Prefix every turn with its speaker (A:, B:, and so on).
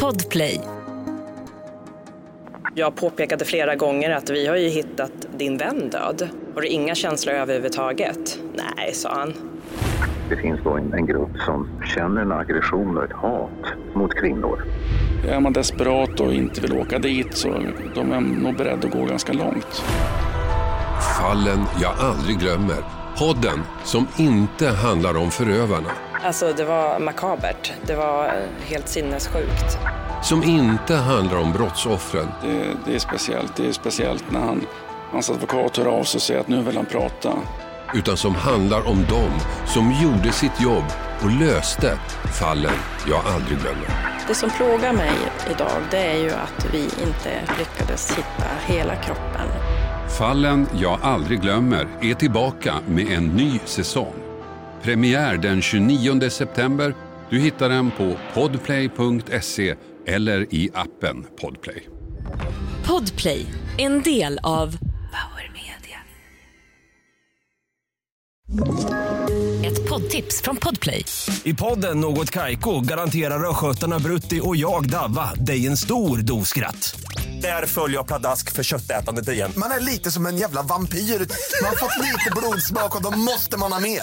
A: Podplay.
B: Jag påpekade flera gånger att vi har ju hittat din vän död. Har du inga känslor överhuvudtaget? Nej, sa han.
C: Det finns då en, en grupp som känner en aggression och ett hat mot kvinnor.
D: Är man desperat och inte vill åka dit så de är nog beredda att gå ganska långt.
E: Fallen jag aldrig glömmer. Podden som inte handlar om förövarna.
B: Alltså, det var makabert. Det var eh, helt sinnessjukt.
E: Som inte handlar om brottsoffren.
D: Det, det är speciellt. Det är speciellt när han, hans advokat hör av sig och säger att nu vill han prata.
E: Utan som handlar om dem som gjorde sitt jobb och löste fallen jag aldrig glömmer.
F: Det som plågar mig idag det är ju att vi inte lyckades hitta hela kroppen.
E: Fallen jag aldrig glömmer är tillbaka med en ny säsong. Premiär den 29 september. Du hittar den på podplay.se eller i appen Podplay.
A: Podplay, en del av Power Media. Ett poddtips från Podplay.
G: I podden Något Kaiko garanterar östgötarna Brutti och jag, Davva, dig en stor dos skratt. Där följer jag pladask för köttätandet igen.
H: Man är lite som en jävla vampyr. Man har fått lite blodsmak och då måste man ha mer.